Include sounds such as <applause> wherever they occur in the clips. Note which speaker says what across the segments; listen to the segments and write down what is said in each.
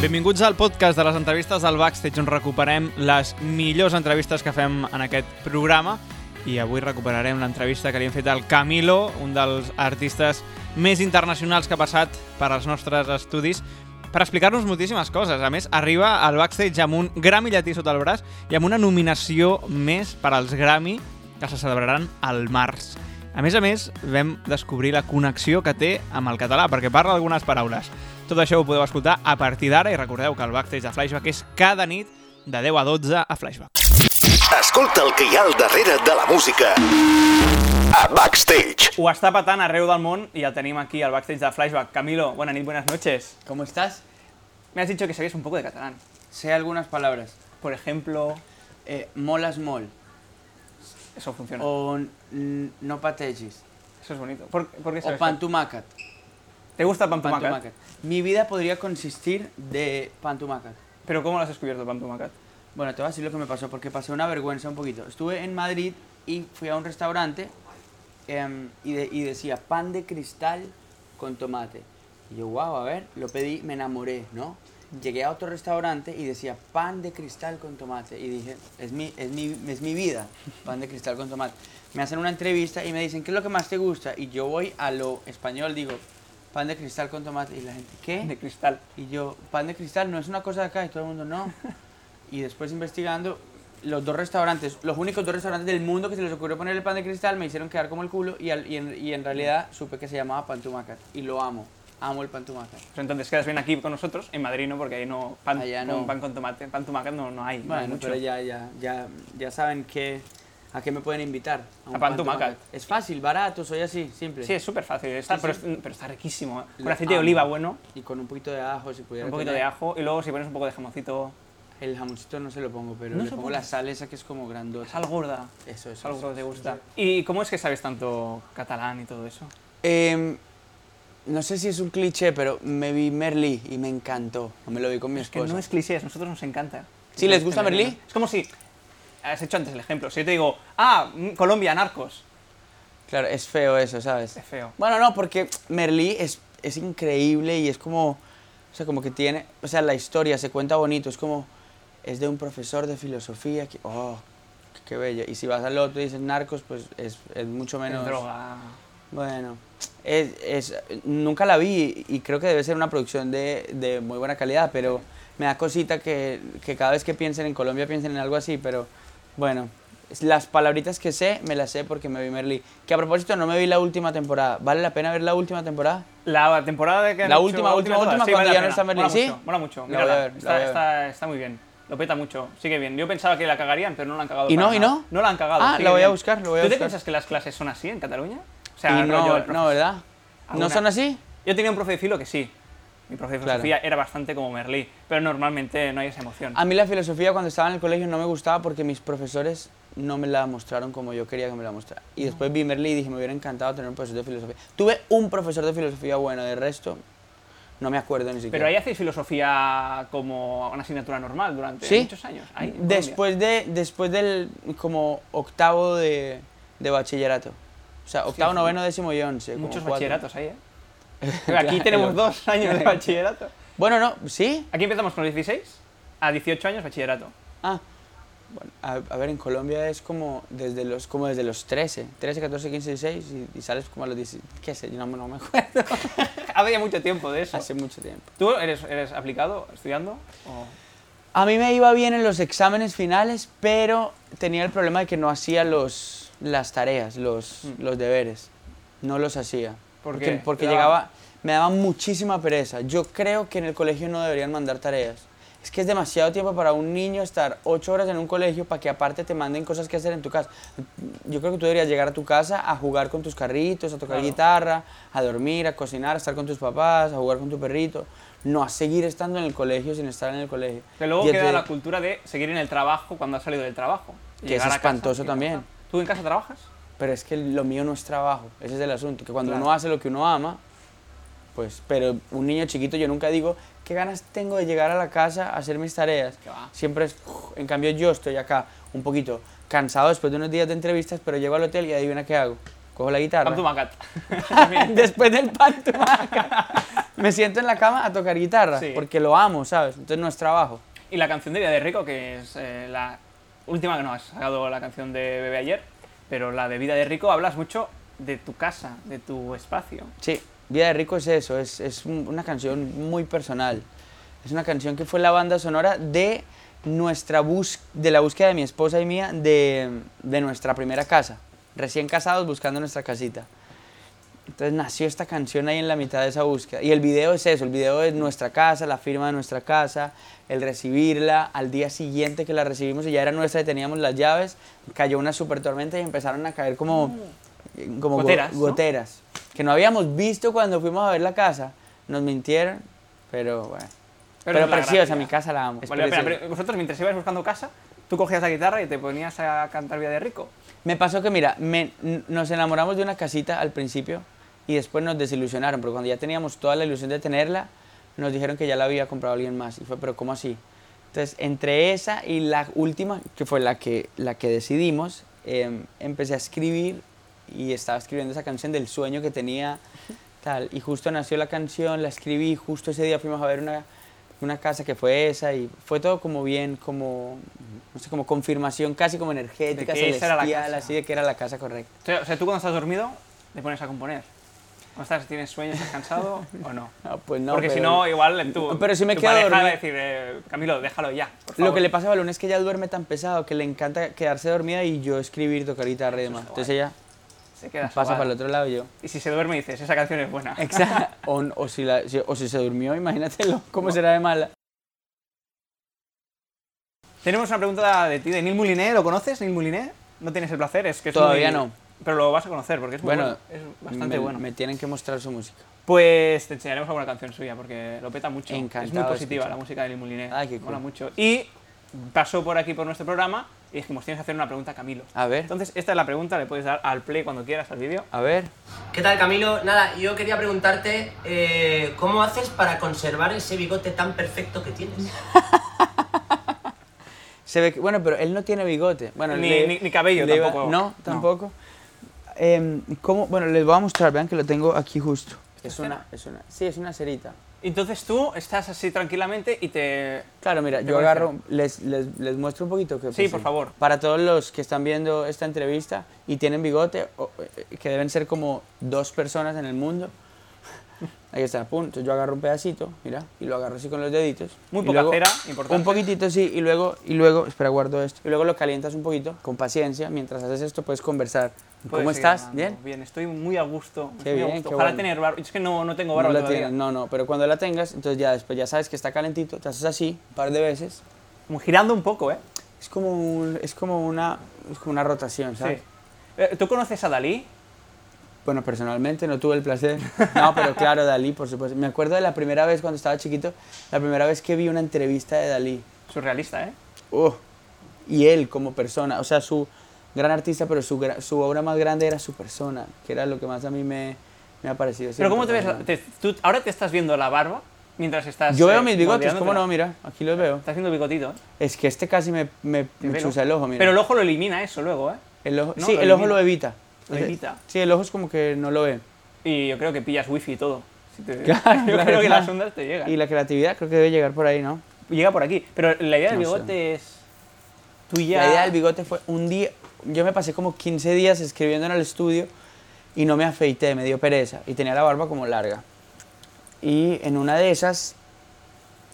Speaker 1: Benvinguts al podcast de les entrevistes del Backstage, on recuperem les millors entrevistes que fem en aquest programa. I avui recuperarem l'entrevista que li hem fet al Camilo, un dels artistes més internacionals que ha passat per als nostres estudis, per explicar-nos moltíssimes coses. A més, arriba al Backstage amb un Grammy llatí sota el braç i amb una nominació més per als Grammy que se celebraran al març. A més a més, vam descobrir la connexió que té amb el català, perquè parla algunes paraules. Tot això ho podeu escoltar a partir d'ara i recordeu que el Backstage de Flashback és cada nit de 10 a 12 a Flashback.
Speaker 2: Escolta el que hi ha al darrere de la música. A Backstage.
Speaker 1: Ho està patant arreu del món i el tenim aquí al Backstage de Flashback. Camilo, bona nit, buenas noches.
Speaker 3: ¿Cómo estás?
Speaker 1: Me has dicho que sabías un poco de catalán.
Speaker 3: Sé algunas palabras.
Speaker 1: Por ejemplo,
Speaker 3: Eh, molas mol.
Speaker 1: eso funciona.
Speaker 3: O n- no pategis.
Speaker 1: Eso es bonito. ¿Por, por qué
Speaker 3: O
Speaker 1: sabes?
Speaker 3: pantumacat.
Speaker 1: ¿Te gusta Pantumacat?
Speaker 3: Pantumacat. Mi vida podría consistir de pantumacat.
Speaker 1: ¿Pero cómo lo has descubierto, Pantumacat?
Speaker 3: Bueno, te voy a decir lo que me pasó porque pasé una vergüenza un poquito. Estuve en Madrid y fui a un restaurante em, y, de- y decía pan de cristal con tomate. Y yo, wow, a ver, lo pedí, me enamoré, ¿no? Llegué a otro restaurante y decía pan de cristal con tomate. Y dije, es mi, es mi, es mi vida, pan de cristal con tomate. Me hacen una entrevista y me dicen, ¿qué es lo que más te gusta? Y yo voy a lo español, digo, pan de cristal con tomate. Y la gente, ¿qué?
Speaker 1: De cristal.
Speaker 3: Y yo, pan de cristal no es una cosa de acá y todo el
Speaker 1: <laughs>
Speaker 3: mundo no. Y después investigando, los dos restaurantes, los únicos dos restaurantes del mundo que se les ocurrió poner el pan de cristal me hicieron quedar como el culo y, al- y en, y en realidad supe que se llamaba pan tumacat. Y lo amo, amo el pan tumacat.
Speaker 1: Pues entonces quedas bien aquí con nosotros, en Madrid no, porque ahí no pan,
Speaker 3: Allá
Speaker 1: con,
Speaker 3: no.
Speaker 1: pan con tomate, pantumacat no, no hay. no hay
Speaker 3: Bueno,
Speaker 1: mucho.
Speaker 3: pero ya, ya, ya, ya saben que, a qué me pueden invitar. un
Speaker 1: A pan
Speaker 3: pan
Speaker 1: tumacat.
Speaker 3: tumacat. Es fácil, barato, soy así, simple.
Speaker 1: Sí, es súper fácil, está,
Speaker 3: Sí,
Speaker 1: pero,
Speaker 3: sí.
Speaker 1: es- pero está riquísimo. ¿eh? Con
Speaker 3: Lo
Speaker 1: aceite de
Speaker 3: amo.
Speaker 1: oliva bueno,
Speaker 3: Y con un poquito de ajo, si pudiera.
Speaker 1: un poquito
Speaker 3: tener.
Speaker 1: de ajo, y luego si pones un poco de jamoncito,
Speaker 3: El jamoncito no se lo pongo, pero
Speaker 1: No
Speaker 3: le
Speaker 1: se
Speaker 3: pongo
Speaker 1: pone.
Speaker 3: la sal esa que es como grandota.
Speaker 1: sal gorda,
Speaker 3: Eso, eso.
Speaker 1: sal
Speaker 3: eso,
Speaker 1: gorda te
Speaker 3: eso,
Speaker 1: gusta.
Speaker 3: eso.
Speaker 1: ¿Y cómo es que sabes tanto catalán y todo eso?
Speaker 3: Em, no sé si es un cliché, pero me vi Merlí y me encantó. Me lo vi con mi
Speaker 1: Es que
Speaker 3: esposa.
Speaker 1: no es cliché, a nosotros nos encanta.
Speaker 3: Sí, ¿les gusta
Speaker 1: Merlí?
Speaker 3: Merlí?
Speaker 1: Es como si, has hecho antes el ejemplo, si yo te digo, ah, mm, Colombia, narcos,
Speaker 3: Claro, es feo eso, ¿sabes?
Speaker 1: es feo.
Speaker 3: Bueno, no, porque Merlí es, es increíble y es como, o sea, como que tiene, o sea, la historia se cuenta bonito, es como, es de un profesor de filosofía que, oh, qué bello. Y si vas al otro y dices narcos, pues es, es mucho menos...
Speaker 1: Es droga.
Speaker 3: Bueno, es, es- nunca la vi y creo que debe ser una producción de, de muy buena calidad, pero me da cosita que, que cada vez que piensen en Colombia piensen en algo así, pero bueno, es- las palabritas que sé me las sé porque me vi Merlí. Que a propósito no me vi la última temporada, ¿vale la pena ver la última temporada?
Speaker 1: La temporada de que han
Speaker 3: La
Speaker 1: hecho-
Speaker 3: última, última,
Speaker 1: toda.
Speaker 3: última,
Speaker 1: Sí, vale
Speaker 3: cuando ya
Speaker 1: la
Speaker 3: no
Speaker 1: pena.
Speaker 3: está Merlí,
Speaker 1: Mola
Speaker 3: ¿sí?
Speaker 1: mucho, mola mucho.
Speaker 3: La voy a
Speaker 1: mírala.
Speaker 3: ver, la
Speaker 1: está,
Speaker 3: voy a ver.
Speaker 1: está- está muy bien. Lo peta mucho, sigue bien. Yo pensaba que la cagarían, pero no la han cagado.
Speaker 3: ¿Y
Speaker 1: para
Speaker 3: no, y
Speaker 1: nada.
Speaker 3: no?
Speaker 1: No la han cagado.
Speaker 3: Ah,
Speaker 1: sigue
Speaker 3: la voy a
Speaker 1: bien.
Speaker 3: buscar, la voy a
Speaker 1: ¿Tú te
Speaker 3: buscar.
Speaker 1: piensas que las clases son así en Cataluña? O
Speaker 3: Y
Speaker 1: sea, rollo
Speaker 3: no,
Speaker 1: el profe-
Speaker 3: no, ¿verdad?
Speaker 1: Alguna-
Speaker 3: ¿No son así?
Speaker 1: Yo tenía un profe de filo que sí. Mi profe de
Speaker 3: Claro.
Speaker 1: filosofía era bastante como Merlí, pero normalmente no hay esa emoción.
Speaker 3: A mí la filosofía cuando estaba en el colegio no me gustaba porque mis profesores no me la mostraron como yo quería que me la mostraran. Y después vi Merlí y dije, me hubiera encantado tener un profesor de filosofía. Tuve un profesor de filosofía bueno, de resto no me acuerdo ni siquiera.
Speaker 1: Pero ahí hacéis filosofía como una asignatura normal durante
Speaker 3: ¿Sí?
Speaker 1: muchos años. ahí, en Colombia.
Speaker 3: después, de, después del como octavo de, de bachillerato. O sea, octavo,
Speaker 1: sí.
Speaker 3: noveno, décimo y once. como
Speaker 1: Muchos
Speaker 3: cuatro.
Speaker 1: bachilleratos
Speaker 3: <laughs>
Speaker 1: ahí, ¿eh? Aquí tenemos
Speaker 3: Claro.
Speaker 1: dos años
Speaker 3: <laughs>
Speaker 1: de bachillerato.
Speaker 3: Bueno, no, ¿sí?
Speaker 1: Aquí empezamos con los 16, a 18 años bachillerato. <laughs>
Speaker 3: Ah, bueno, a, a ver, en Colombia es como desde los, como desde los 13, 13, 14, 15, 16 y, y sales como a los 10, qué sé, yo no, me- no me acuerdo. <laughs>
Speaker 1: Había mucho tiempo de eso.
Speaker 3: Hace mucho tiempo.
Speaker 1: ¿Tú eres, eres aplicado estudiando? o-
Speaker 3: A mí me iba bien en los exámenes finales, pero tenía el problema de que no hacía los, las tareas, los, los deberes. No los hacía.
Speaker 1: Mm. ¿Por
Speaker 3: porque
Speaker 1: qué?
Speaker 3: porque
Speaker 1: Te daba-
Speaker 3: llegaba, me daba muchísima pereza. Yo creo que en el colegio no deberían mandar tareas. Es que es demasiado tiempo para un niño estar ocho horas en un colegio para que aparte te manden cosas que hacer en tu casa. Yo creo que tú deberías llegar a tu casa a jugar con tus carritos, a tocar
Speaker 1: Claro.
Speaker 3: guitarra, a dormir, a cocinar, a estar con tus papás, a jugar con tu perrito. No a seguir estando en el colegio sin estar en el colegio.
Speaker 1: Que luego
Speaker 3: Y
Speaker 1: queda
Speaker 3: entonces-
Speaker 1: la cultura de seguir en el trabajo cuando has salido del trabajo. y
Speaker 3: Que es
Speaker 1: llegar a casa
Speaker 3: espantoso
Speaker 1: y
Speaker 3: también.
Speaker 1: trabajar. ¿Tú en casa trabajas?
Speaker 3: Pero es que lo mío no es trabajo, ese es el asunto, que cuando
Speaker 1: Claro.
Speaker 3: uno hace lo que uno ama, pues, pero un niño chiquito yo nunca digo, qué ganas tengo de llegar a la casa a hacer mis tareas.
Speaker 1: Qué va.
Speaker 3: Siempre es, "Uf". en cambio yo estoy acá un poquito cansado después de unos días de entrevistas, pero llego al hotel y <laughs> adivina qué hago, cojo la guitarra.
Speaker 1: Pam tu macat.
Speaker 3: después del pan tumaca. me siento en la cama a tocar guitarra,
Speaker 1: Sí.
Speaker 3: porque lo amo, ¿sabes? Entonces no es trabajo.
Speaker 1: Y la canción de Día de Rico, que es eh, la última que nos has sacado la canción de Bebé ayer, pero la de Vida de Rico hablas mucho de tu casa, de tu espacio.
Speaker 3: Sí, Vida de Rico es eso, es, es un- una canción muy personal. Es una canción que fue la banda sonora de nuestra bus de la búsqueda de mi esposa y mía de, de nuestra primera casa. Recién casados buscando nuestra casita. Entonces nació esta canción ahí en la mitad de esa búsqueda. Y el video es eso, el video es nuestra casa, la firma de nuestra casa, el recibirla, al día siguiente que la recibimos y ya era nuestra y teníamos las llaves, cayó una super tormenta y empezaron a caer como, como go-
Speaker 1: Mm. Goteras, ¿no?
Speaker 3: goteras, que no habíamos visto cuando fuimos a ver la casa. Nos mintieron, pero bueno. Pero,
Speaker 1: es la
Speaker 3: preciosa,
Speaker 1: gracia.
Speaker 3: mi casa la amo. es
Speaker 1: Vale la pena,
Speaker 3: preciosa.
Speaker 1: pero vosotros mientras ibas buscando casa, tú cogías la guitarra y te ponías a cantar Vida de Rico.
Speaker 3: Me pasó que, mira, me- n- nos enamoramos de una casita al principio y después nos desilusionaron, porque cuando ya teníamos toda la ilusión de tenerla, nos dijeron que ya la había comprado alguien más. Y fue, pero ¿cómo así? Entonces, entre esa y la última, que fue la que, la que decidimos, em, empecé a escribir y estaba escribiendo esa canción del sueño que tenía, tal. Y justo nació la canción, la escribí, y justo ese día fuimos a ver una, una casa que fue esa y fue todo como bien, como, no sé, como confirmación casi como energética,
Speaker 1: que esa era la
Speaker 3: celestial,
Speaker 1: casa.
Speaker 3: así de que era la casa correcta.
Speaker 1: O sea, o sea, tú cuando estás dormido, te pones a componer. ¿Cómo estás? ¿Tienes sueño? ¿Estás
Speaker 3: <laughs>
Speaker 1: cansado o no?
Speaker 3: Ah, pues no,
Speaker 1: Porque si
Speaker 3: pero-
Speaker 1: no, igual tú.
Speaker 3: Pero si me
Speaker 1: tu
Speaker 3: quedo
Speaker 1: pareja va a
Speaker 3: dormido.
Speaker 1: decir, eh, Camilo, déjalo ya. por
Speaker 3: Lo
Speaker 1: favor".
Speaker 3: que le pasa a Balón es que ella duerme tan pesado que le encanta quedarse dormida y yo escribir, tocar guitarra y demás.
Speaker 1: está
Speaker 3: Entonces ella
Speaker 1: Se queda
Speaker 3: pasa
Speaker 1: sobada.
Speaker 3: para el otro lado y yo.
Speaker 1: Y si se duerme, dices, esa canción es buena.
Speaker 3: Exacto. <laughs> o, o si la- si- o si se durmió, imagínatelo, <laughs> cómo será de mala.
Speaker 1: Tenemos una pregunta de ti, de Neil Mouliné. ¿Lo conoces, Neil Mouliné? ¿No tienes el placer? Es que es
Speaker 3: Todavía
Speaker 1: muy-
Speaker 3: no.
Speaker 1: Pero lo vas a conocer porque es muy bueno.
Speaker 3: Bueno,
Speaker 1: Es bastante
Speaker 3: me-
Speaker 1: bueno.
Speaker 3: Me tienen que mostrar su música.
Speaker 1: Pues te enseñaremos alguna canción suya porque lo peta mucho. es muy
Speaker 3: Encantado de
Speaker 1: positiva
Speaker 3: escuchar.
Speaker 1: la música de Neil Mouliné.
Speaker 3: Ay, qué cool.
Speaker 1: Mola mucho. Y pasó por aquí por nuestro programa y dijimos, tienes que hacer una pregunta a Camilo.
Speaker 3: A ver.
Speaker 1: Entonces, esta es la pregunta, le puedes dar al play cuando quieras al vídeo.
Speaker 3: A ver.
Speaker 4: ¿Qué tal, Camilo? Nada, yo quería preguntarte eh, cómo haces para conservar ese bigote tan perfecto que tienes.
Speaker 3: Se ve que- bueno, pero él no tiene bigote. Bueno,
Speaker 1: Ni-
Speaker 3: le-
Speaker 1: ni- ni cabello
Speaker 3: le iba-
Speaker 1: tampoco.
Speaker 3: no, tampoco. Em, ¿cómo? Bueno, les voy a mostrar, vean que lo tengo aquí justo. Es una, es una, sí, es una cerita.
Speaker 1: Entonces tú estás así tranquilamente y te...
Speaker 3: Claro, mira,
Speaker 1: ¿Te
Speaker 3: yo
Speaker 1: parece?
Speaker 3: agarro, les, les, les muestro un poquito que... pues
Speaker 1: Sí, por favor.
Speaker 3: Para todos los que están viendo esta entrevista y tienen bigote, o, eh, que deben ser como dos personas en el mundo, <laughs> ahí está, pum, entonces yo agarro un pedacito, mira, y lo agarro así con los deditos.
Speaker 1: Muy
Speaker 3: y
Speaker 1: poca
Speaker 3: luego-
Speaker 1: cera, importante.
Speaker 3: Un poquitito, sí, y luego, y luego, espera, guardo esto, y luego lo calientas un poquito, con paciencia, mientras haces esto puedes conversar.
Speaker 1: Puedes
Speaker 3: ¿Cómo
Speaker 1: seguir
Speaker 3: estás?
Speaker 1: hablando.
Speaker 3: ¿Bien?
Speaker 1: Bien, estoy muy a gusto.
Speaker 3: Qué
Speaker 1: muy a
Speaker 3: bien,
Speaker 1: gusto.
Speaker 3: qué
Speaker 1: Ojalá
Speaker 3: bueno.
Speaker 1: tener barba. Es que no, no tengo barba
Speaker 3: no la
Speaker 1: todavía.
Speaker 3: tienes, no, no, pero cuando la tengas, entonces ya después ya sabes que está calentito, te haces así un par de veces
Speaker 1: Como girando un poco, ¿eh?
Speaker 3: Es como, un- es como, una, es como una rotación, ¿sabes?
Speaker 1: Sí. Eh, ¿Tú conoces a Dalí?
Speaker 3: Bueno, personalmente no tuve el placer. No, pero claro, Dalí, por supuesto. Me acuerdo de la primera vez cuando estaba chiquito, la primera vez que vi una entrevista de Dalí.
Speaker 1: Surrealista, ¿eh?
Speaker 3: Oh, y él como persona, o sea, su gran artista, pero su, gra- su obra más grande era su persona, que era lo que más a mí me, me ha parecido.
Speaker 1: Pero
Speaker 3: siempre,
Speaker 1: ¿cómo te ves?
Speaker 3: personal.
Speaker 1: Te- tú, ahora te estás viendo la barba mientras estás...
Speaker 3: Yo
Speaker 1: eh,
Speaker 3: veo mis bigotes,
Speaker 1: moldeándote
Speaker 3: ¿cómo
Speaker 1: la-
Speaker 3: no? Mira, aquí los veo.
Speaker 1: Estás viendo el bigotito, ¿eh?
Speaker 3: Es que este casi me, me,
Speaker 1: Te
Speaker 3: me
Speaker 1: veo.
Speaker 3: chusa el ojo, mira.
Speaker 1: Pero el ojo lo elimina eso luego, ¿eh?
Speaker 3: El ojo-
Speaker 1: No,
Speaker 3: sí,
Speaker 1: lo
Speaker 3: el ojo
Speaker 1: elimina.
Speaker 3: lo evita.
Speaker 1: Lo evita.
Speaker 3: Sí, el ojo es como que no lo ve.
Speaker 1: Y yo creo que pillas wifi y todo. Si te-
Speaker 3: <laughs> Claro,
Speaker 1: yo
Speaker 3: claro,
Speaker 1: creo que
Speaker 3: claro.
Speaker 1: las ondas te llegan.
Speaker 3: Y la creatividad creo que debe llegar por ahí, ¿no?
Speaker 1: Llega por aquí. Pero la idea del
Speaker 3: No sé.
Speaker 1: bigote es tuya.
Speaker 3: La idea del bigote fue un día, yo me pasé como 15 días escribiendo en el estudio y no me afeité, me dio pereza y tenía la barba como larga. Y en una de esas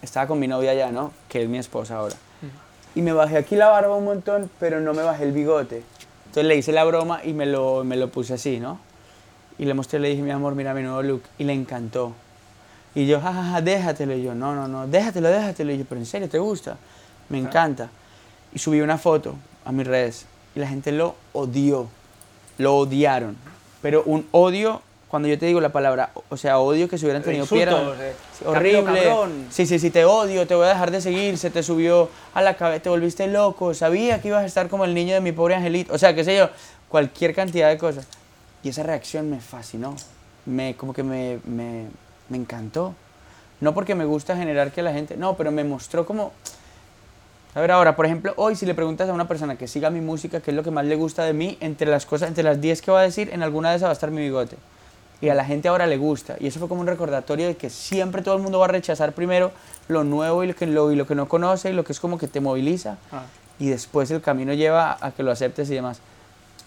Speaker 3: estaba con mi novia ya, ¿no? Que es mi esposa ahora. Y me bajé aquí la barba un montón, pero no me bajé el bigote. Entonces le hice la broma y me lo, me lo puse así, ¿no? Y le mostré, le dije, mi amor, mira mi nuevo look. Y le encantó. Y yo, jajaja, déjatelo. Y yo, no, no, no, déjatelo, déjatelo. Y yo, pero en serio, ¿te gusta? Me encanta. Y subí una foto a mis redes. Y la gente lo odió. Lo odiaron. Pero un odio, cuando yo te digo la palabra, o- o sea, odio que se hubieran tenido
Speaker 1: Insultos,
Speaker 3: piernas.
Speaker 1: eh.
Speaker 3: Sí,
Speaker 1: Camilo,
Speaker 3: horrible.
Speaker 1: cabrón.
Speaker 3: Sí, sí, sí, te odio, te voy a dejar de seguir, se te subió a la cabeza, te volviste loco, sabía que ibas a estar como el niño de mi pobre angelito, o sea, qué sé yo, cualquier cantidad de cosas. Y esa reacción me fascinó, me, como que me, me, me encantó. No porque me gusta generar que la gente, no, pero me mostró como... A ver, ahora, por ejemplo, hoy si le preguntas a una persona que siga mi música, qué es lo que más le gusta de mí, entre las cosas, entre las 10 que va a decir, en alguna de esas va a estar mi bigote. y a la gente ahora le gusta. Y eso fue como un recordatorio de que siempre todo el mundo va a rechazar primero lo nuevo y lo que, lo, y lo que no conoce y lo que es como que te moviliza.
Speaker 1: Ah.
Speaker 3: Y después el camino lleva a que lo aceptes y demás.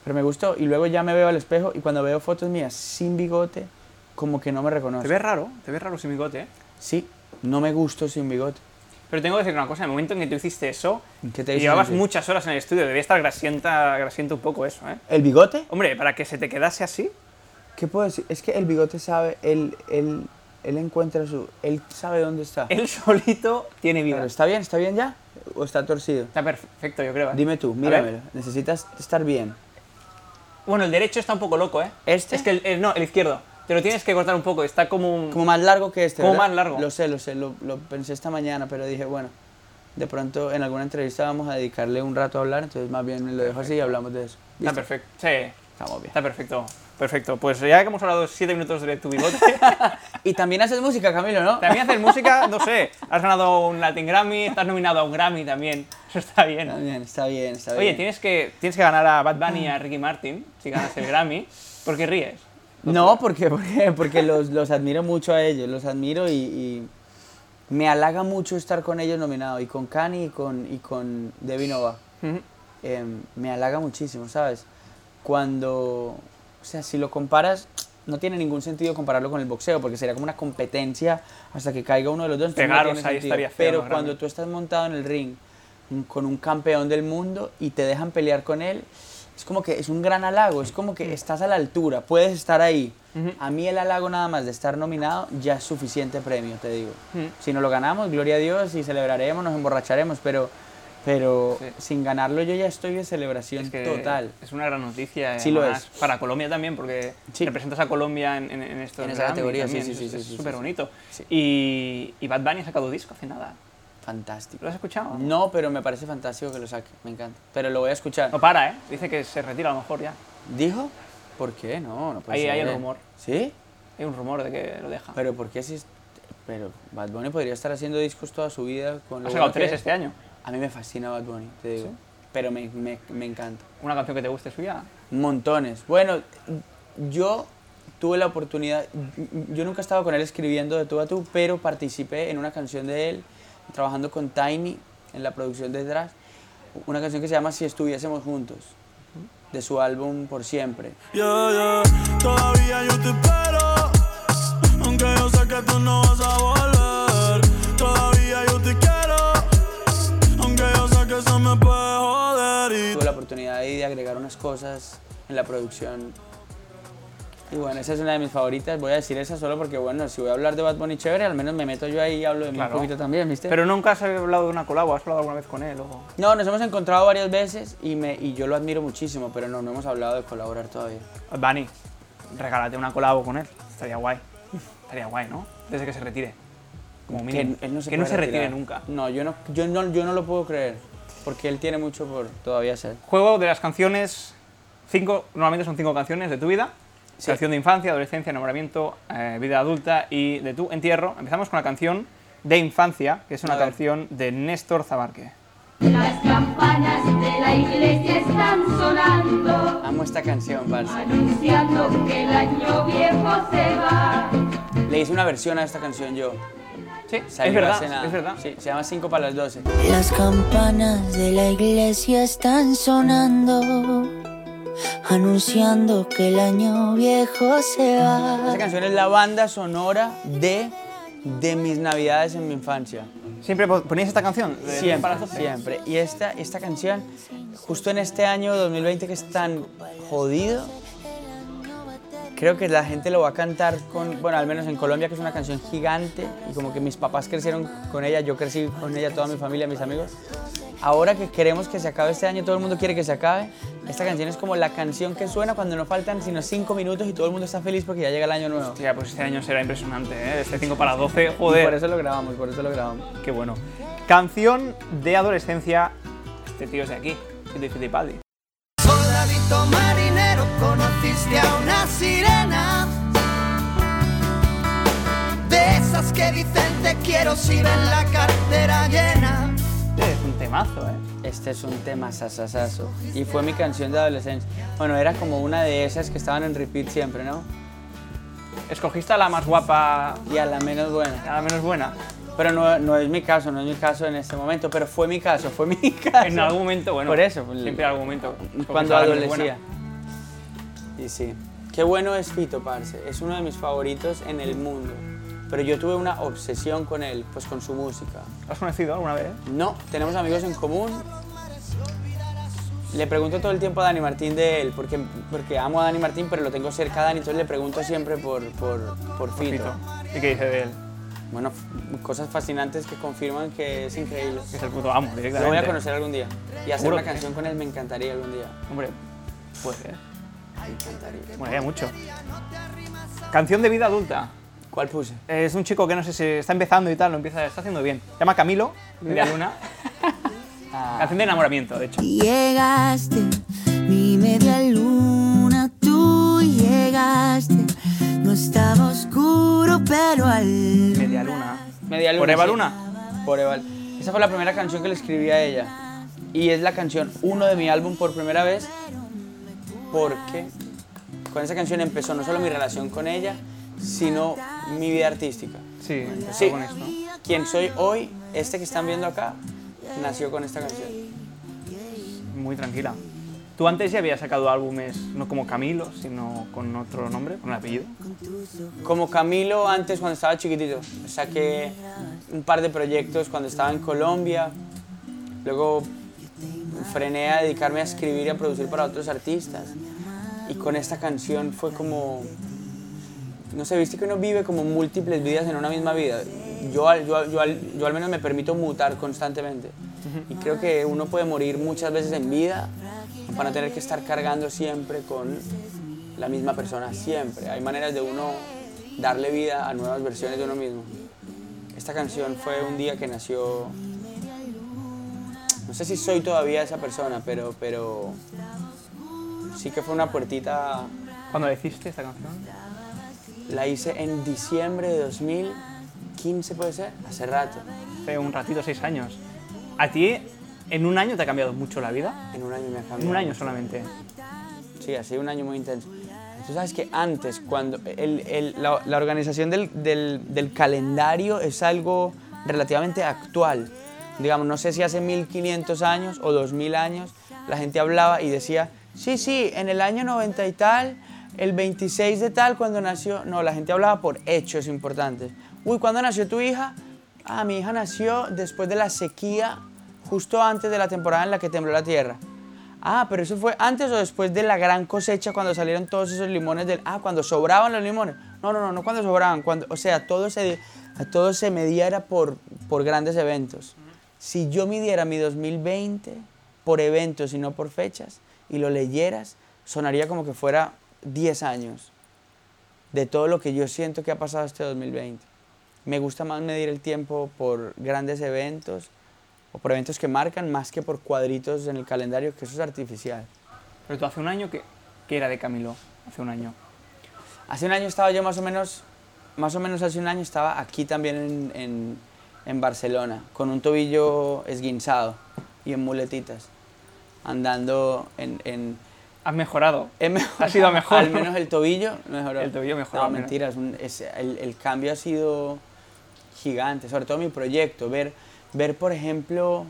Speaker 3: Pero me gustó y luego ya me veo al espejo y cuando veo fotos mías sin bigote, como que no me
Speaker 1: Te
Speaker 3: reconozco.
Speaker 1: ves raro, te ves raro sin bigote, ¿eh?
Speaker 3: Sí, no me gusto sin bigote.
Speaker 1: Pero tengo que decir una cosa, en el momento en que tú hiciste eso,
Speaker 3: ¿Qué te hice
Speaker 1: llevabas
Speaker 3: sentir?
Speaker 1: muchas horas en el estudio, debía estar grasienta, grasiento un poco eso, ¿eh?
Speaker 3: ¿El bigote?
Speaker 1: Hombre, para que se te quedase así,
Speaker 3: ¿Qué puedo decir? Es que el bigote sabe, él, él, él encuentra su... Él sabe dónde está.
Speaker 1: él <laughs> solito tiene vida.
Speaker 3: Pero, ¿Está bien? ¿Está bien ya? ¿O está torcido?
Speaker 1: Está perfecto, yo creo. ¿eh?
Speaker 3: Dime tú,
Speaker 1: A
Speaker 3: míramelo.
Speaker 1: ver.
Speaker 3: Necesitas estar bien.
Speaker 1: Bueno, el derecho está un poco loco, ¿eh?
Speaker 3: ¿Este?
Speaker 1: Es que el, el- no, el izquierdo. Te lo tienes que cortar un poco, está como un...
Speaker 3: Como más largo que este.
Speaker 1: Como
Speaker 3: ¿verdad?
Speaker 1: más largo.
Speaker 3: Lo sé, lo sé. Lo, lo pensé esta mañana, pero dije, bueno, de pronto en alguna entrevista vamos a dedicarle un rato a hablar, entonces más bien lo dejo así y hablamos de eso.
Speaker 1: Está
Speaker 3: ¿Listo?
Speaker 1: perfecto, sí.
Speaker 3: Estamos bien.
Speaker 1: Está perfecto, perfecto. Pues ya que hemos hablado siete minutos de tu bigote, <laughs>
Speaker 3: Y también haces música, Camilo, ¿no?
Speaker 1: también haces música, no sé, has ganado un Latin Grammy, estás nominado a un Grammy también, <laughs> eso está bien.
Speaker 3: También, está bien, está bien.
Speaker 1: Oye, tienes que, tienes que ganar a Bad Bunny y a Ricky Martin, si ganas el Grammy, porque ríes.
Speaker 3: No, porque, porque, porque los, los admiro mucho a ellos, los admiro y, y me halaga mucho estar con ellos nominado, y con Cani y con, y con Debbie Nova.
Speaker 1: Ujú.
Speaker 3: Em, me halaga muchísimo, ¿sabes? Cuando, o sea, si lo comparas, no tiene ningún sentido compararlo con el boxeo, porque sería como una competencia hasta que caiga uno de los dos. entonces no
Speaker 1: Pegaros
Speaker 3: tiene
Speaker 1: ahí
Speaker 3: sentido.
Speaker 1: estaría feo,
Speaker 3: Pero
Speaker 1: más grande.
Speaker 3: cuando tú estás montado en el ring mm, con un campeón del mundo y te dejan pelear con él, es como que es un gran halago, es como
Speaker 1: Mm.
Speaker 3: que estás a la altura, puedes estar ahí. A mí el halago nada más de estar nominado ya es suficiente premio, te digo.
Speaker 1: Ujú.
Speaker 3: Si no lo ganamos, gloria a Dios, y celebraremos, nos emborracharemos, pero, pero
Speaker 1: Sí.
Speaker 3: sin ganarlo yo ya estoy de celebración
Speaker 1: Es que
Speaker 3: total.
Speaker 1: Es una gran noticia. eh,
Speaker 3: Sí lo
Speaker 1: además,
Speaker 3: es.
Speaker 1: Para Colombia también, porque
Speaker 3: Sí.
Speaker 1: representas a Colombia en, en, en estos
Speaker 3: En esa
Speaker 1: Grammy
Speaker 3: categoría, sí,
Speaker 1: también,
Speaker 3: sí, sí,
Speaker 1: es-
Speaker 3: sí,
Speaker 1: Es
Speaker 3: sí, sí,
Speaker 1: súper bonito.
Speaker 3: sí.
Speaker 1: Y, y Bad Bunny ha sacado disco hace nada. ¿Lo
Speaker 3: Fantástico.
Speaker 1: has escuchado?
Speaker 3: No, pero me parece fantástico que lo saque, me encanta. Pero lo voy a escuchar.
Speaker 1: No para, ¿eh? Dice que se retira a lo mejor ya.
Speaker 3: ¿Dijo? ¿Por qué? No, no puede
Speaker 1: Ahí
Speaker 3: ser.
Speaker 1: hay Ah. el rumor.
Speaker 3: ¿Sí?
Speaker 1: Hay un rumor de que lo deja.
Speaker 3: Pero ¿por qué si es- Pero Bad Bunny podría estar haciendo discos toda su vida con lo
Speaker 1: ha sacado
Speaker 3: bueno que
Speaker 1: tres
Speaker 3: es.
Speaker 1: este año.
Speaker 3: A mí me fascina Bad Bunny, te digo.
Speaker 1: ¿Sí?
Speaker 3: Pero me, me- me encanta.
Speaker 1: Una canción que te guste suya.
Speaker 3: Montones. Bueno, yo tuve la oportunidad, yo nunca estaba con él escribiendo de tú a tú, pero participé en una canción de él, trabajando con Tiny en la producción de Draft, una canción que se llama Si estuviésemos juntos, de su álbum Por Siempre.
Speaker 5: Yeah, yeah. Todavía yo te espero, aunque yo sé que tú no vas a volver. Todavía yo te quiero, aunque yo sé que eso me puede joder. Y
Speaker 3: Tuve la oportunidad ahí de agregar unas cosas en la producción. Y bueno, esa es una de mis favoritas. Voy a decir esa solo porque, bueno, si voy a hablar de Bad Bunny chévere, al menos me meto yo ahí y hablo de mí
Speaker 1: Claro.
Speaker 3: un poquito también, ¿viste?
Speaker 1: Pero nunca has hablado de una colabo, has hablado alguna vez con él. O...
Speaker 3: No, nos hemos encontrado varias veces y, me, y yo lo admiro muchísimo, pero no, no hemos hablado de colaborar todavía.
Speaker 1: Bad Bunny, regálate una colabo con él. Estaría guay. Estaría guay, ¿no? Desde que se retire. Como
Speaker 3: Que
Speaker 1: mínimo.
Speaker 3: él él no se,
Speaker 1: que no
Speaker 3: puede
Speaker 1: se retire
Speaker 3: retirar.
Speaker 1: nunca.
Speaker 3: No yo, no, yo no, yo no lo puedo creer, porque él tiene mucho por todavía hacer.
Speaker 1: Juego de las canciones, cinco, normalmente son cinco canciones de tu vida.
Speaker 3: Sí.
Speaker 1: Canción de infancia, adolescencia, enamoramiento, eh, vida adulta y de tu entierro. Empezamos con la canción de infancia, que es una
Speaker 3: A ver.
Speaker 1: canción de Néstor Zabarque.
Speaker 6: Las campanas de la iglesia están sonando,
Speaker 3: Amo esta canción, parce.
Speaker 6: anunciando que el año viejo se va.
Speaker 3: Le hice una versión a esta canción yo.
Speaker 1: Sí, es
Speaker 3: Salió hace
Speaker 1: verdad,
Speaker 3: nada.
Speaker 1: es verdad.
Speaker 3: Sí, se llama 5 para las 12.
Speaker 7: Las campanas de la iglesia están sonando, anunciando que el año viejo se
Speaker 3: Esa
Speaker 7: va.
Speaker 3: canción es la banda sonora de, de mis navidades en mi infancia.
Speaker 1: ¿Siempre po- ponías esta canción? de- para
Speaker 3: Siempre,
Speaker 1: las doce?
Speaker 3: siempre. Y esta, esta canción, justo en este año 2020 que es tan jodido, creo que la gente lo va a cantar con, bueno, al menos en Colombia, que es una canción gigante, y como que mis papás crecieron con ella, yo crecí con ella, toda mi familia, mis amigos. Ahora que queremos que se acabe este año, todo el mundo quiere que se acabe. Esta canción es como la canción que suena cuando no faltan sino cinco minutos y todo el mundo está feliz porque ya llega el año nuevo.
Speaker 1: Hostia, pues este año será impresionante, ¿eh? Este 5 para 12,
Speaker 3: Y
Speaker 1: joder.
Speaker 3: por eso lo grabamos, por eso lo grabamos.
Speaker 1: Qué bueno. Canción de adolescencia. Este tío es de aquí, es de Fittipaldi.
Speaker 8: Soldadito marinero, conociste a una sirena. De esas que dicen te quiero si ven la cartera llena.
Speaker 1: Este es un temazo, ¿eh?
Speaker 3: Este es un tema sasasazo. Y fue mi canción de adolescencia. Bueno, era como una de esas que estaban en repeat siempre, ¿no?
Speaker 1: escogiste a la más guapa,
Speaker 3: Y a la menos buena.
Speaker 1: a la menos
Speaker 8: <laughs>
Speaker 1: buena.
Speaker 3: Pero no, no es mi caso, no es mi caso en este momento, pero fue mi caso, fue mi <laughs> caso.
Speaker 1: En algún momento, bueno.
Speaker 3: Por eso, pues,
Speaker 1: Siempre en algún momento. escogiste
Speaker 3: cuando
Speaker 1: a la menos
Speaker 3: adolecía.
Speaker 1: buena.
Speaker 3: Y sí. Qué bueno es Fito, parce. Es uno de mis favoritos en el mundo. Pero yo tuve una obsesión con él, pues con su música.
Speaker 1: ¿Lo has conocido alguna vez?
Speaker 3: No, tenemos amigos en común. Le pregunto todo el tiempo a Dani Martín de él, porque, porque amo a Dani Martín, pero lo tengo cerca a Dani, entonces le pregunto siempre por, por, por Fito.
Speaker 1: ¿Y qué dice de él?
Speaker 3: Bueno, f- cosas fascinantes que confirman que es increíble.
Speaker 1: Que es el puto amo,
Speaker 3: Lo
Speaker 1: directamente.
Speaker 3: voy a conocer algún día. Y hacer
Speaker 1: Seguro
Speaker 3: una
Speaker 1: que sí.
Speaker 3: canción con él me encantaría algún día.
Speaker 1: Hombre, pues, ¿eh? puede ser.
Speaker 3: Me encantaría.
Speaker 1: Molaría mucho. Canción de vida adulta.
Speaker 3: ¿Cuál puse?
Speaker 1: Es un chico que no sé si está empezando y tal, lo empieza, está haciendo bien. Se llama Camilo, de la Luna. Ah. Canción de enamoramiento, de hecho.
Speaker 7: Llegaste, mi media luna, tú llegaste. No estaba oscuro, pero al.
Speaker 1: Media Luna.
Speaker 3: Media Luna.
Speaker 1: ¿Por Eva
Speaker 3: sí.
Speaker 1: Luna?
Speaker 3: Por Eva Luna. Esa fue la primera canción que le escribí a ella. Y es la canción uno de mi álbum por primera vez. Porque con esa canción empezó no solo mi relación con ella, sino mi vida artística.
Speaker 1: Sí, empezó
Speaker 3: Sí,
Speaker 1: con esto.
Speaker 3: quien soy hoy, este que están viendo acá, nació con esta canción.
Speaker 1: Muy tranquila. Tú antes ya habías sacado álbumes, no como Camilo, sino con otro nombre, con el apellido.
Speaker 3: Como Camilo antes cuando estaba chiquitito, saqué un par de proyectos cuando estaba en Colombia, luego frené a dedicarme a escribir y a producir para otros artistas y con esta canción fue como, no sé, viste que uno vive como múltiples vidas en una misma vida, yo, al- yo, al- yo, al- yo al menos me permito mutar constantemente y creo que uno puede morir muchas veces en vida para no tener que estar cargando siempre con la misma persona siempre. Hay maneras de uno darle vida a nuevas versiones de uno mismo. Esta canción fue un día que nació. No sé si soy todavía esa persona, pero, pero sí que fue una puertita.
Speaker 1: Cuando la hiciste esta canción,
Speaker 3: La hice en diciembre de 2015, puede ser, hace rato,
Speaker 1: hace un ratito, seis años. ¿A ti en un año te ha cambiado mucho la vida?
Speaker 3: en un año me ha cambiado.
Speaker 1: En un año solamente.
Speaker 3: Sí, ha sido un año muy intenso. Tú sabes que antes, cuando el- el- la, la organización del, del- del calendario es algo relativamente actual. Digamos, no sé si hace 1500 años o 2000 años, la gente hablaba y decía, sí, sí, en el año 90 y tal, el 26 de tal, cuando nació. No, la gente hablaba por hechos importantes. Uy, ¿cuándo nació tu hija? Ah, mi hija nació después de la sequía, justo antes de la temporada en la que tembló la tierra. Ah, pero eso fue antes o después de la gran cosecha cuando salieron todos esos limones del. Ah, cuando sobraban los limones. No, no, no, no cuando sobraban. Cuando, o sea, todo se, a todo se mediara por, por grandes eventos. Si yo midiera mi 2020 por eventos y no por fechas y lo leyeras, sonaría como que fuera 10 años de todo lo que yo siento que ha pasado este 2020. Me gusta más medir el tiempo por grandes eventos o por eventos que marcan más que por cuadritos en el calendario, que eso es artificial.
Speaker 1: Pero tú hace un año que, que era de Camilo, hace un año.
Speaker 3: Hace un año estaba yo más o menos, más o menos hace un año estaba aquí también en, en- en Barcelona, con un tobillo esguinzado y en muletitas, andando en... en
Speaker 1: Has mejorado.
Speaker 3: he mejorado-
Speaker 1: Ha sido mejor.
Speaker 3: Al menos el tobillo mejoró.
Speaker 1: El tobillo mejoró,
Speaker 3: No,
Speaker 1: mira.
Speaker 3: mentira, es un- es- el, el cambio ha sido gigante, sobre todo mi proyecto, ver, ver por ejemplo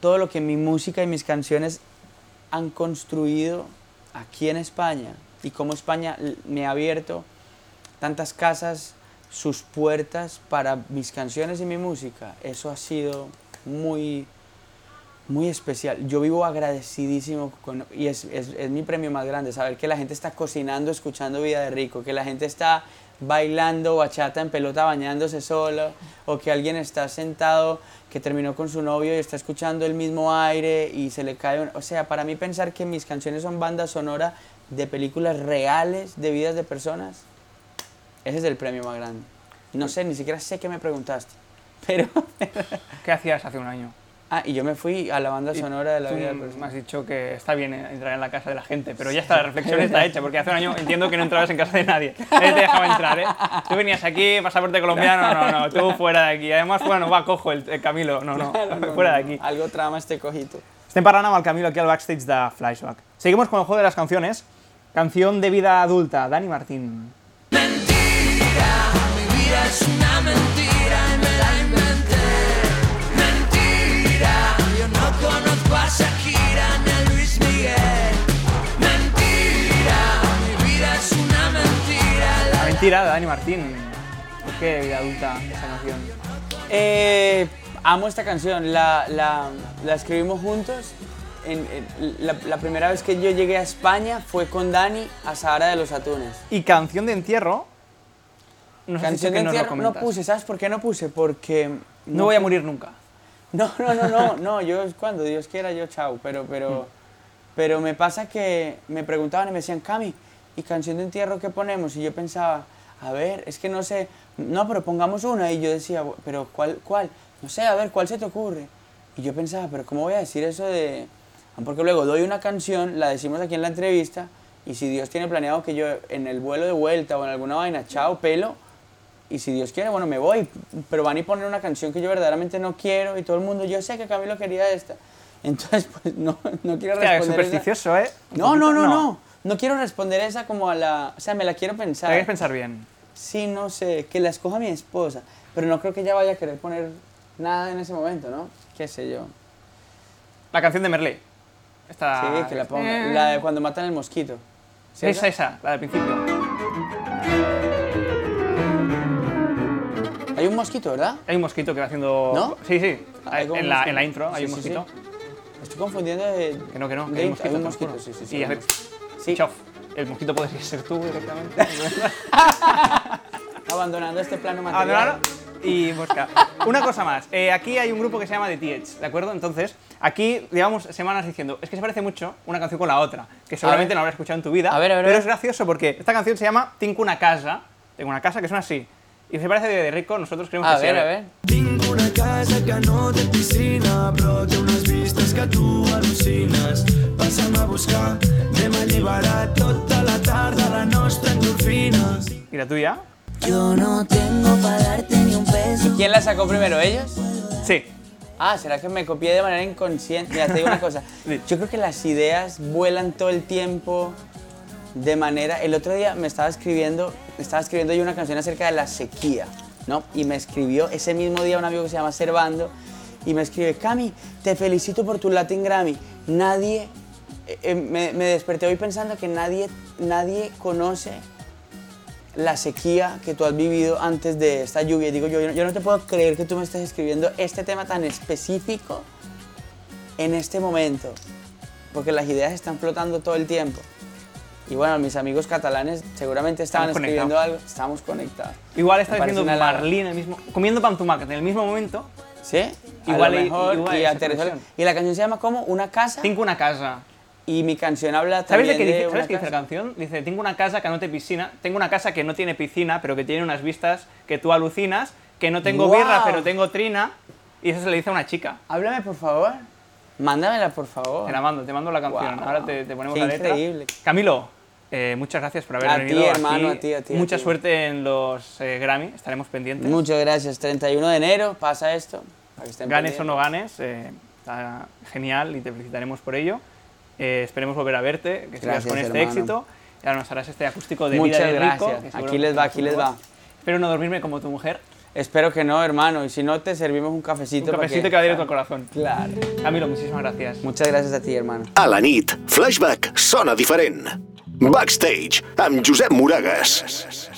Speaker 3: todo lo que mi música y mis canciones han construido aquí en España y cómo España l- me ha abierto tantas casas, sus puertas para mis canciones y mi música. Eso ha sido muy, muy especial. Yo vivo agradecidísimo con- y es, es- es mi premio más grande, saber que la gente está cocinando, escuchando Vida de Rico, que la gente está bailando bachata en pelota bañándose solo, o que alguien está sentado que terminó con su novio y está escuchando el mismo aire y se le cae un... O sea, para mí pensar que mis canciones son banda sonora de películas reales, de vidas de personas, ese es el premio más grande. No sé, ni siquiera sé qué me preguntaste, pero...
Speaker 1: ¿Qué hacías hace un año?
Speaker 3: ah, y yo me fui a la banda sonora de la
Speaker 1: Tú
Speaker 3: vida de
Speaker 1: pues me
Speaker 3: personas.
Speaker 1: has dicho que está bien entrar en la casa de la gente, pero ya está, la reflexión <laughs> está hecha, porque hace un año entiendo que no entrabas en casa de nadie. Nadie te dejaba entrar, ¿eh? Tú venías aquí, pasaporte colombiano, no, no, tú fuera de aquí. Además, bueno, va, cojo el, el Camilo, no, no, fuera de aquí.
Speaker 3: Algo trama este cojito.
Speaker 1: Estem parlant amb el Camilo aquí al backstage de Flashback. Seguimos con el juego de las canciones. Canción de vida adulta, Dani Martín.
Speaker 5: Mentira, mi vida es una mentira y me la inventé. Mentira, yo no conozco a Shakira ni a Luis Miguel. Mentira, mi vida es una mentira.
Speaker 1: La Ah, mentira de Dani Martín. ¿Por qué de vida adulta esa canción?
Speaker 3: Eh, amo esta canción, la, la- la escribimos juntos. En- en- la, la primera vez que yo llegué a España fue con Dani a Sahara de los Atunes.
Speaker 1: Y canción de entierro. Nos has dicho
Speaker 3: Canción
Speaker 1: que
Speaker 3: de
Speaker 1: nos lo
Speaker 3: entierro no
Speaker 1: comentas.
Speaker 3: puse, ¿sabes por qué no puse? Porque...
Speaker 1: No voy a morir nunca.
Speaker 3: No, no, no, no, no, yo cuando Dios quiera, yo chao, pero, pero, pero me pasa que me preguntaban y me decían, Cami, ¿y canción de entierro qué ponemos? Y yo pensaba, a ver, es que no sé, no, pero pongamos una. Y yo decía, "Bu- pero ¿cuál, cuál? No sé, a ver, ¿cuál se te ocurre? Y yo pensaba, pero ¿cómo voy a decir eso de...? Porque luego doy una canción, la decimos aquí en la entrevista, y si Dios tiene planeado que yo en el vuelo de vuelta o en alguna vaina, chao, pelo, y si Dios quiere, bueno, me voy. Pero van y ponen una canción que yo verdaderamente no quiero y todo el mundo, yo sé que Camilo quería esta. <laughs> Entonces, pues no, no quiero
Speaker 1: Hostia,
Speaker 3: responder. esa.
Speaker 1: supersticioso, ¿eh? Un
Speaker 3: No, no,
Speaker 1: poquito-
Speaker 3: no, no, no. quiero responder esa como a la. O sea, me la quiero pensar.
Speaker 1: Hay que pensar bien.
Speaker 3: Sí, no sé, que la escoja mi esposa. Pero no creo que ella vaya a querer poner nada en ese momento, ¿no? Qué sé yo.
Speaker 1: La canción de Merlé. Esta,
Speaker 3: Sí, que la ponga. La de cuando matan el mosquito. ¿Sí
Speaker 1: Esa, esa, la del principio.
Speaker 3: Hay un mosquito, ¿verdad?
Speaker 1: Hay un mosquito que va haciendo.
Speaker 3: ¿no? Ah,
Speaker 1: Sí, sí.
Speaker 3: Hay como
Speaker 1: en,
Speaker 3: un
Speaker 1: la,
Speaker 3: mosquito.
Speaker 1: en la intro hay
Speaker 3: Sí,
Speaker 1: un
Speaker 3: sí, sí.
Speaker 1: mosquito.
Speaker 3: Estoy confundiendo de.
Speaker 1: Que no, que no. Que
Speaker 3: de-
Speaker 1: hay un mosquito. te lo
Speaker 3: mosquito,
Speaker 1: juro.
Speaker 3: sí, sí. sí,
Speaker 1: Y
Speaker 3: hay un
Speaker 1: hace.
Speaker 3: mosquito. Sí.
Speaker 1: Chof. El mosquito podría ser tú
Speaker 3: <laughs>
Speaker 1: directamente.
Speaker 3: Abandonando este plano
Speaker 1: Ah, no,
Speaker 3: material.
Speaker 1: no, no. Y
Speaker 3: <laughs>
Speaker 1: mosca. Una cosa más. Eh, aquí hay un grupo que se llama The Tiets, ¿de acuerdo? Entonces, aquí llevamos semanas diciendo, es que se parece mucho una canción con la otra, que seguramente
Speaker 3: ver.
Speaker 1: no habrás escuchado en tu vida.
Speaker 3: A ver, a ver, a
Speaker 1: pero
Speaker 3: ver.
Speaker 1: es gracioso porque esta canción se llama Tengo una casa. Tengo una casa que suena así. Y se parece de, de rico, nosotros <laughs> creemos
Speaker 3: A
Speaker 1: que
Speaker 3: ver,
Speaker 1: sí. ¿eh?
Speaker 3: a ver.
Speaker 5: Tinc una casa que no té piscina, però té unes vistes que tu al·lucines. Passa'm a buscar, anem a alliberar tota la tarda la nostra endorfina.
Speaker 1: ¿Y la tuya?
Speaker 7: Yo no tengo para darte ni un peso.
Speaker 3: ¿Quién la sacó primero, ellos?
Speaker 1: Sí.
Speaker 3: Ah, ¿será que me copié de manera inconsciente? Mira, te digo una cosa. Yo creo que las ideas vuelan todo el tiempo de manera... El otro día me estaba escribiendo, estaba escribiendo yo una canción acerca de la sequía, ¿no? Y me escribió ese mismo día un amigo que se llama Servando y me escribe, Cami, te felicito por tu Latin Grammy. Nadie... eh, eh, me, me desperté hoy pensando que nadie, nadie conoce la sequía que tú has vivido antes de esta lluvia. Y Digo, yo, yo no te puedo creer que tú me estés escribiendo este tema tan específico en este momento, porque las ideas están flotando todo el tiempo. Y bueno, mis amigos catalanes seguramente estaban
Speaker 1: Estamos
Speaker 3: escribiendo algo, estamos conectados.
Speaker 1: Igual
Speaker 3: Me
Speaker 1: está
Speaker 3: parece
Speaker 1: diciendo
Speaker 3: una larga.
Speaker 1: Marlín el mismo, comiendo pan tumaca en el mismo momento.
Speaker 3: ¿Sí? A
Speaker 1: Igual
Speaker 3: lo
Speaker 1: hay-
Speaker 3: mejor,
Speaker 1: igual hay
Speaker 3: y, a
Speaker 1: esa
Speaker 3: Teresa-
Speaker 1: conexión.
Speaker 3: y la canción se llama como Una casa
Speaker 1: Tengo una casa.
Speaker 3: y mi canción habla
Speaker 1: ¿Sabes de
Speaker 3: también
Speaker 1: qué dice,
Speaker 3: una
Speaker 1: ¿sabes qué dice la
Speaker 3: casa.
Speaker 1: canción? Dice, tengo una casa que no te piscina, tengo una casa que no tiene piscina, pero que tiene unas vistas que tú alucinas, que no tengo birra,
Speaker 3: ¡Guau!
Speaker 1: pero tengo trina, y eso se le dice a una chica.
Speaker 3: Háblame, por favor. Mándamela, por favor.
Speaker 1: Te la mando, te mando la canción,
Speaker 3: ¡Guau!
Speaker 1: ahora te, te ponemos
Speaker 3: Qué
Speaker 1: la letra.
Speaker 3: increíble.
Speaker 1: Camilo, eh, muchas gracias por haber
Speaker 3: A ti,
Speaker 1: venido
Speaker 3: hermano,
Speaker 1: aquí.
Speaker 3: a ti, a ti, a
Speaker 1: Mucha
Speaker 3: ti.
Speaker 1: suerte en los eh, Grammy, estaremos pendientes.
Speaker 3: Muchas gracias. 31 de enero pasa esto. para que estén
Speaker 1: ganes o
Speaker 3: pendientes.
Speaker 1: no ganes, eh, está genial y te felicitaremos por ello. Eh, esperemos volver a verte, que sigas
Speaker 3: Gracias,
Speaker 1: con este
Speaker 3: hermano.
Speaker 1: éxito. Y ahora nos harás este acústico de
Speaker 3: Muchas
Speaker 1: vida de rico.
Speaker 3: gracias.
Speaker 1: que
Speaker 3: Aquí
Speaker 1: seguro
Speaker 3: les va, aquí
Speaker 1: que
Speaker 3: les va.
Speaker 1: Espero no dormirme como tu mujer.
Speaker 3: Espero que no, hermano. Y si no, te servimos un cafecito.
Speaker 1: Un
Speaker 3: para
Speaker 1: cafecito que va directo al corazón.
Speaker 3: Claro.
Speaker 1: Camilo, muchísimas gracias.
Speaker 3: Muchas gracias a ti, hermano.
Speaker 2: A la nit, Flashback sona diferent. Backstage, amb Josep Moragas.